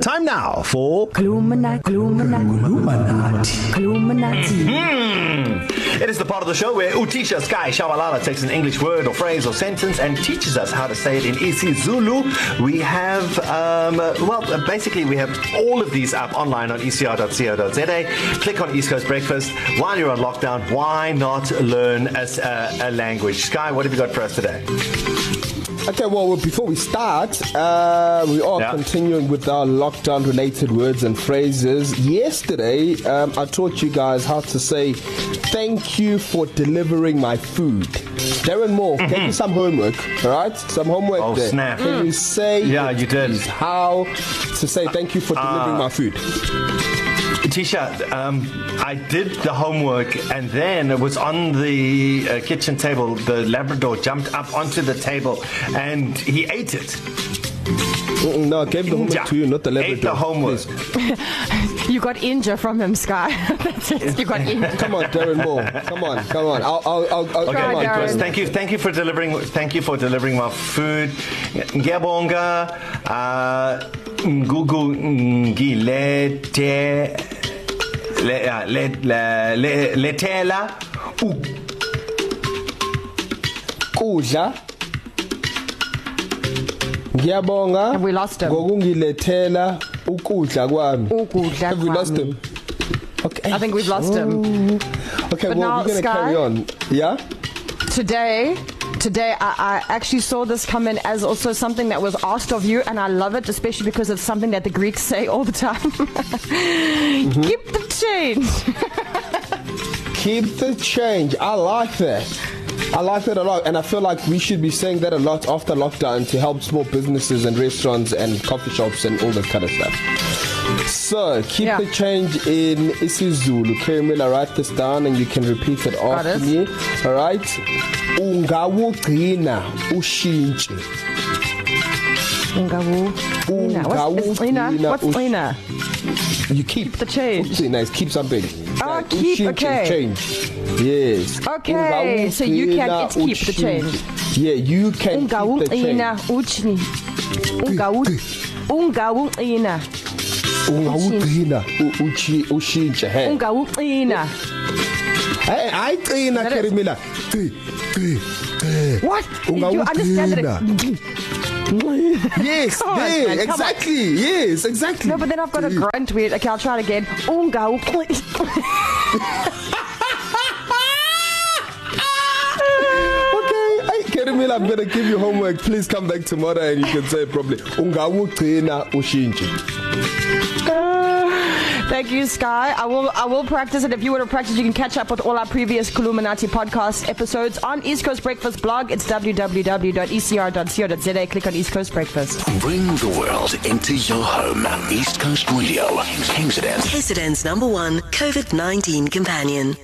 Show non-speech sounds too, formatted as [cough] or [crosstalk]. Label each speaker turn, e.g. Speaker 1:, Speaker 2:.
Speaker 1: Time now for
Speaker 2: Glumina, Gluminati, Gluminati,
Speaker 1: Hmm. It is the part of the show where Utisha Sky Shawalala takes an English word or phrase or sentence and teaches us how to say it in isiZulu. We have, um, uh, well, uh, basically, we have all of these up online on E ecr.co.za. Click on East Coast Breakfast. While you're on lockdown, why not learn a, s- a- a language? Sky, what have you got for us today?
Speaker 3: Okay, well, before we start, uh, we are
Speaker 1: Yeah.
Speaker 3: continuing with our lockdown related words and phrases. Yesterday, um, I taught you guys how to say thank you for delivering my food. Darren Moore, get you some homework, all right? Some homework
Speaker 1: Mm-hmm. Oh,
Speaker 3: there.
Speaker 1: snap.
Speaker 3: Can you say
Speaker 1: Yeah, you did. Uh,
Speaker 3: please, how to say thank you for delivering my food?
Speaker 1: Tisha, um, I did the homework and then it was on the uh, kitchen table. The Labrador jumped up onto the table and he ate it.
Speaker 3: Mm-mm, No, I gave the homework
Speaker 1: Inja
Speaker 3: to you, not the
Speaker 1: ate the
Speaker 3: Labrador.
Speaker 1: homework.
Speaker 3: Please.
Speaker 4: You got injured from him, Sky. [laughs] That's it. You got injured.
Speaker 3: Come on, Darren Moore. Come on, come on. I'll, I'll, I'll, I'll
Speaker 1: Okay,
Speaker 3: come on,
Speaker 4: Darren.
Speaker 1: Joyce,
Speaker 3: Darren.
Speaker 1: thank you, thank you for delivering. Thank you for delivering my food. Ngiyabonga, uh, ngugu ngilete le- uh, le- le- le- lethela u-
Speaker 3: kudla ngiyabonga
Speaker 4: And we lost him.
Speaker 3: ngokungilethela ukudla kwami
Speaker 4: Ukudla
Speaker 3: Have [laughs] we lost
Speaker 4: kwami.
Speaker 3: him okay Mm.
Speaker 4: I think we've lost him.
Speaker 3: okay well
Speaker 4: But now,
Speaker 3: we're gonna
Speaker 4: Sky?
Speaker 3: carry on yeah
Speaker 4: Today, today I, I actually saw this come in as also something that was asked of you, and I love it, especially because it's something that the Greeks say all the time. [laughs]
Speaker 3: Mm-hmm.
Speaker 4: Keep the change.
Speaker 3: keep the change i like that I like that a lot, and I feel like we should be saying that a lot after lockdown to help small businesses and restaurants and coffee shops and all that kind of stuff. So, keep
Speaker 4: Yeah.
Speaker 3: the change in isiZulu. Kerry Miller, write this down and you can repeat it
Speaker 4: Got
Speaker 3: after
Speaker 4: it.
Speaker 3: me. All right? Ungawugcina ushintshe.
Speaker 4: Ina, what's Ina?
Speaker 3: Ungawugcina
Speaker 4: What's
Speaker 3: ush-
Speaker 4: Ina?
Speaker 3: You keep
Speaker 4: the change.
Speaker 3: Ugcina is keep something.
Speaker 4: Ah,
Speaker 3: Like,
Speaker 4: keep,
Speaker 3: ushintshe,
Speaker 4: okay.
Speaker 3: Change. Yes.
Speaker 4: Okay, so you can-
Speaker 3: Ungawugcina
Speaker 4: it's keep the change.
Speaker 3: ushintshe. Yeah, you can keep the
Speaker 4: Ungawuqina
Speaker 3: change.
Speaker 4: uchni. Ungawu- Ungawuqina.
Speaker 3: Ungawugcina u- uchi- ushintshe. Hey.
Speaker 4: Ungawuqina.
Speaker 3: Hey, hayi qina
Speaker 4: That is-
Speaker 3: Kerry Miller. Qi, qi, qi.
Speaker 4: What? Did you understand that? It,
Speaker 3: Yes,
Speaker 4: [laughs] Come on,
Speaker 3: yeah,
Speaker 4: man, come on.
Speaker 3: exactly. Yes, exactly.
Speaker 4: No, but then I've got a grunt weird. Okay, I'll try it again. Unga. [laughs]
Speaker 3: Okay, hey, Kerimila, I'm gonna give you homework. Please come back tomorrow and you can say it properly. Ungawugcina ushintshe.
Speaker 4: [laughs] Thank you, Sky. I will I will practice it. If you want to practice, you can catch up with all our previous Columinati podcast episodes on East Coast Breakfast blog. It's E www.ecr.co.za. Click on East Coast Breakfast.
Speaker 5: Bring the world into your home. East Coast Radio, Kingston.
Speaker 6: KZN's number one COVID 19 companion.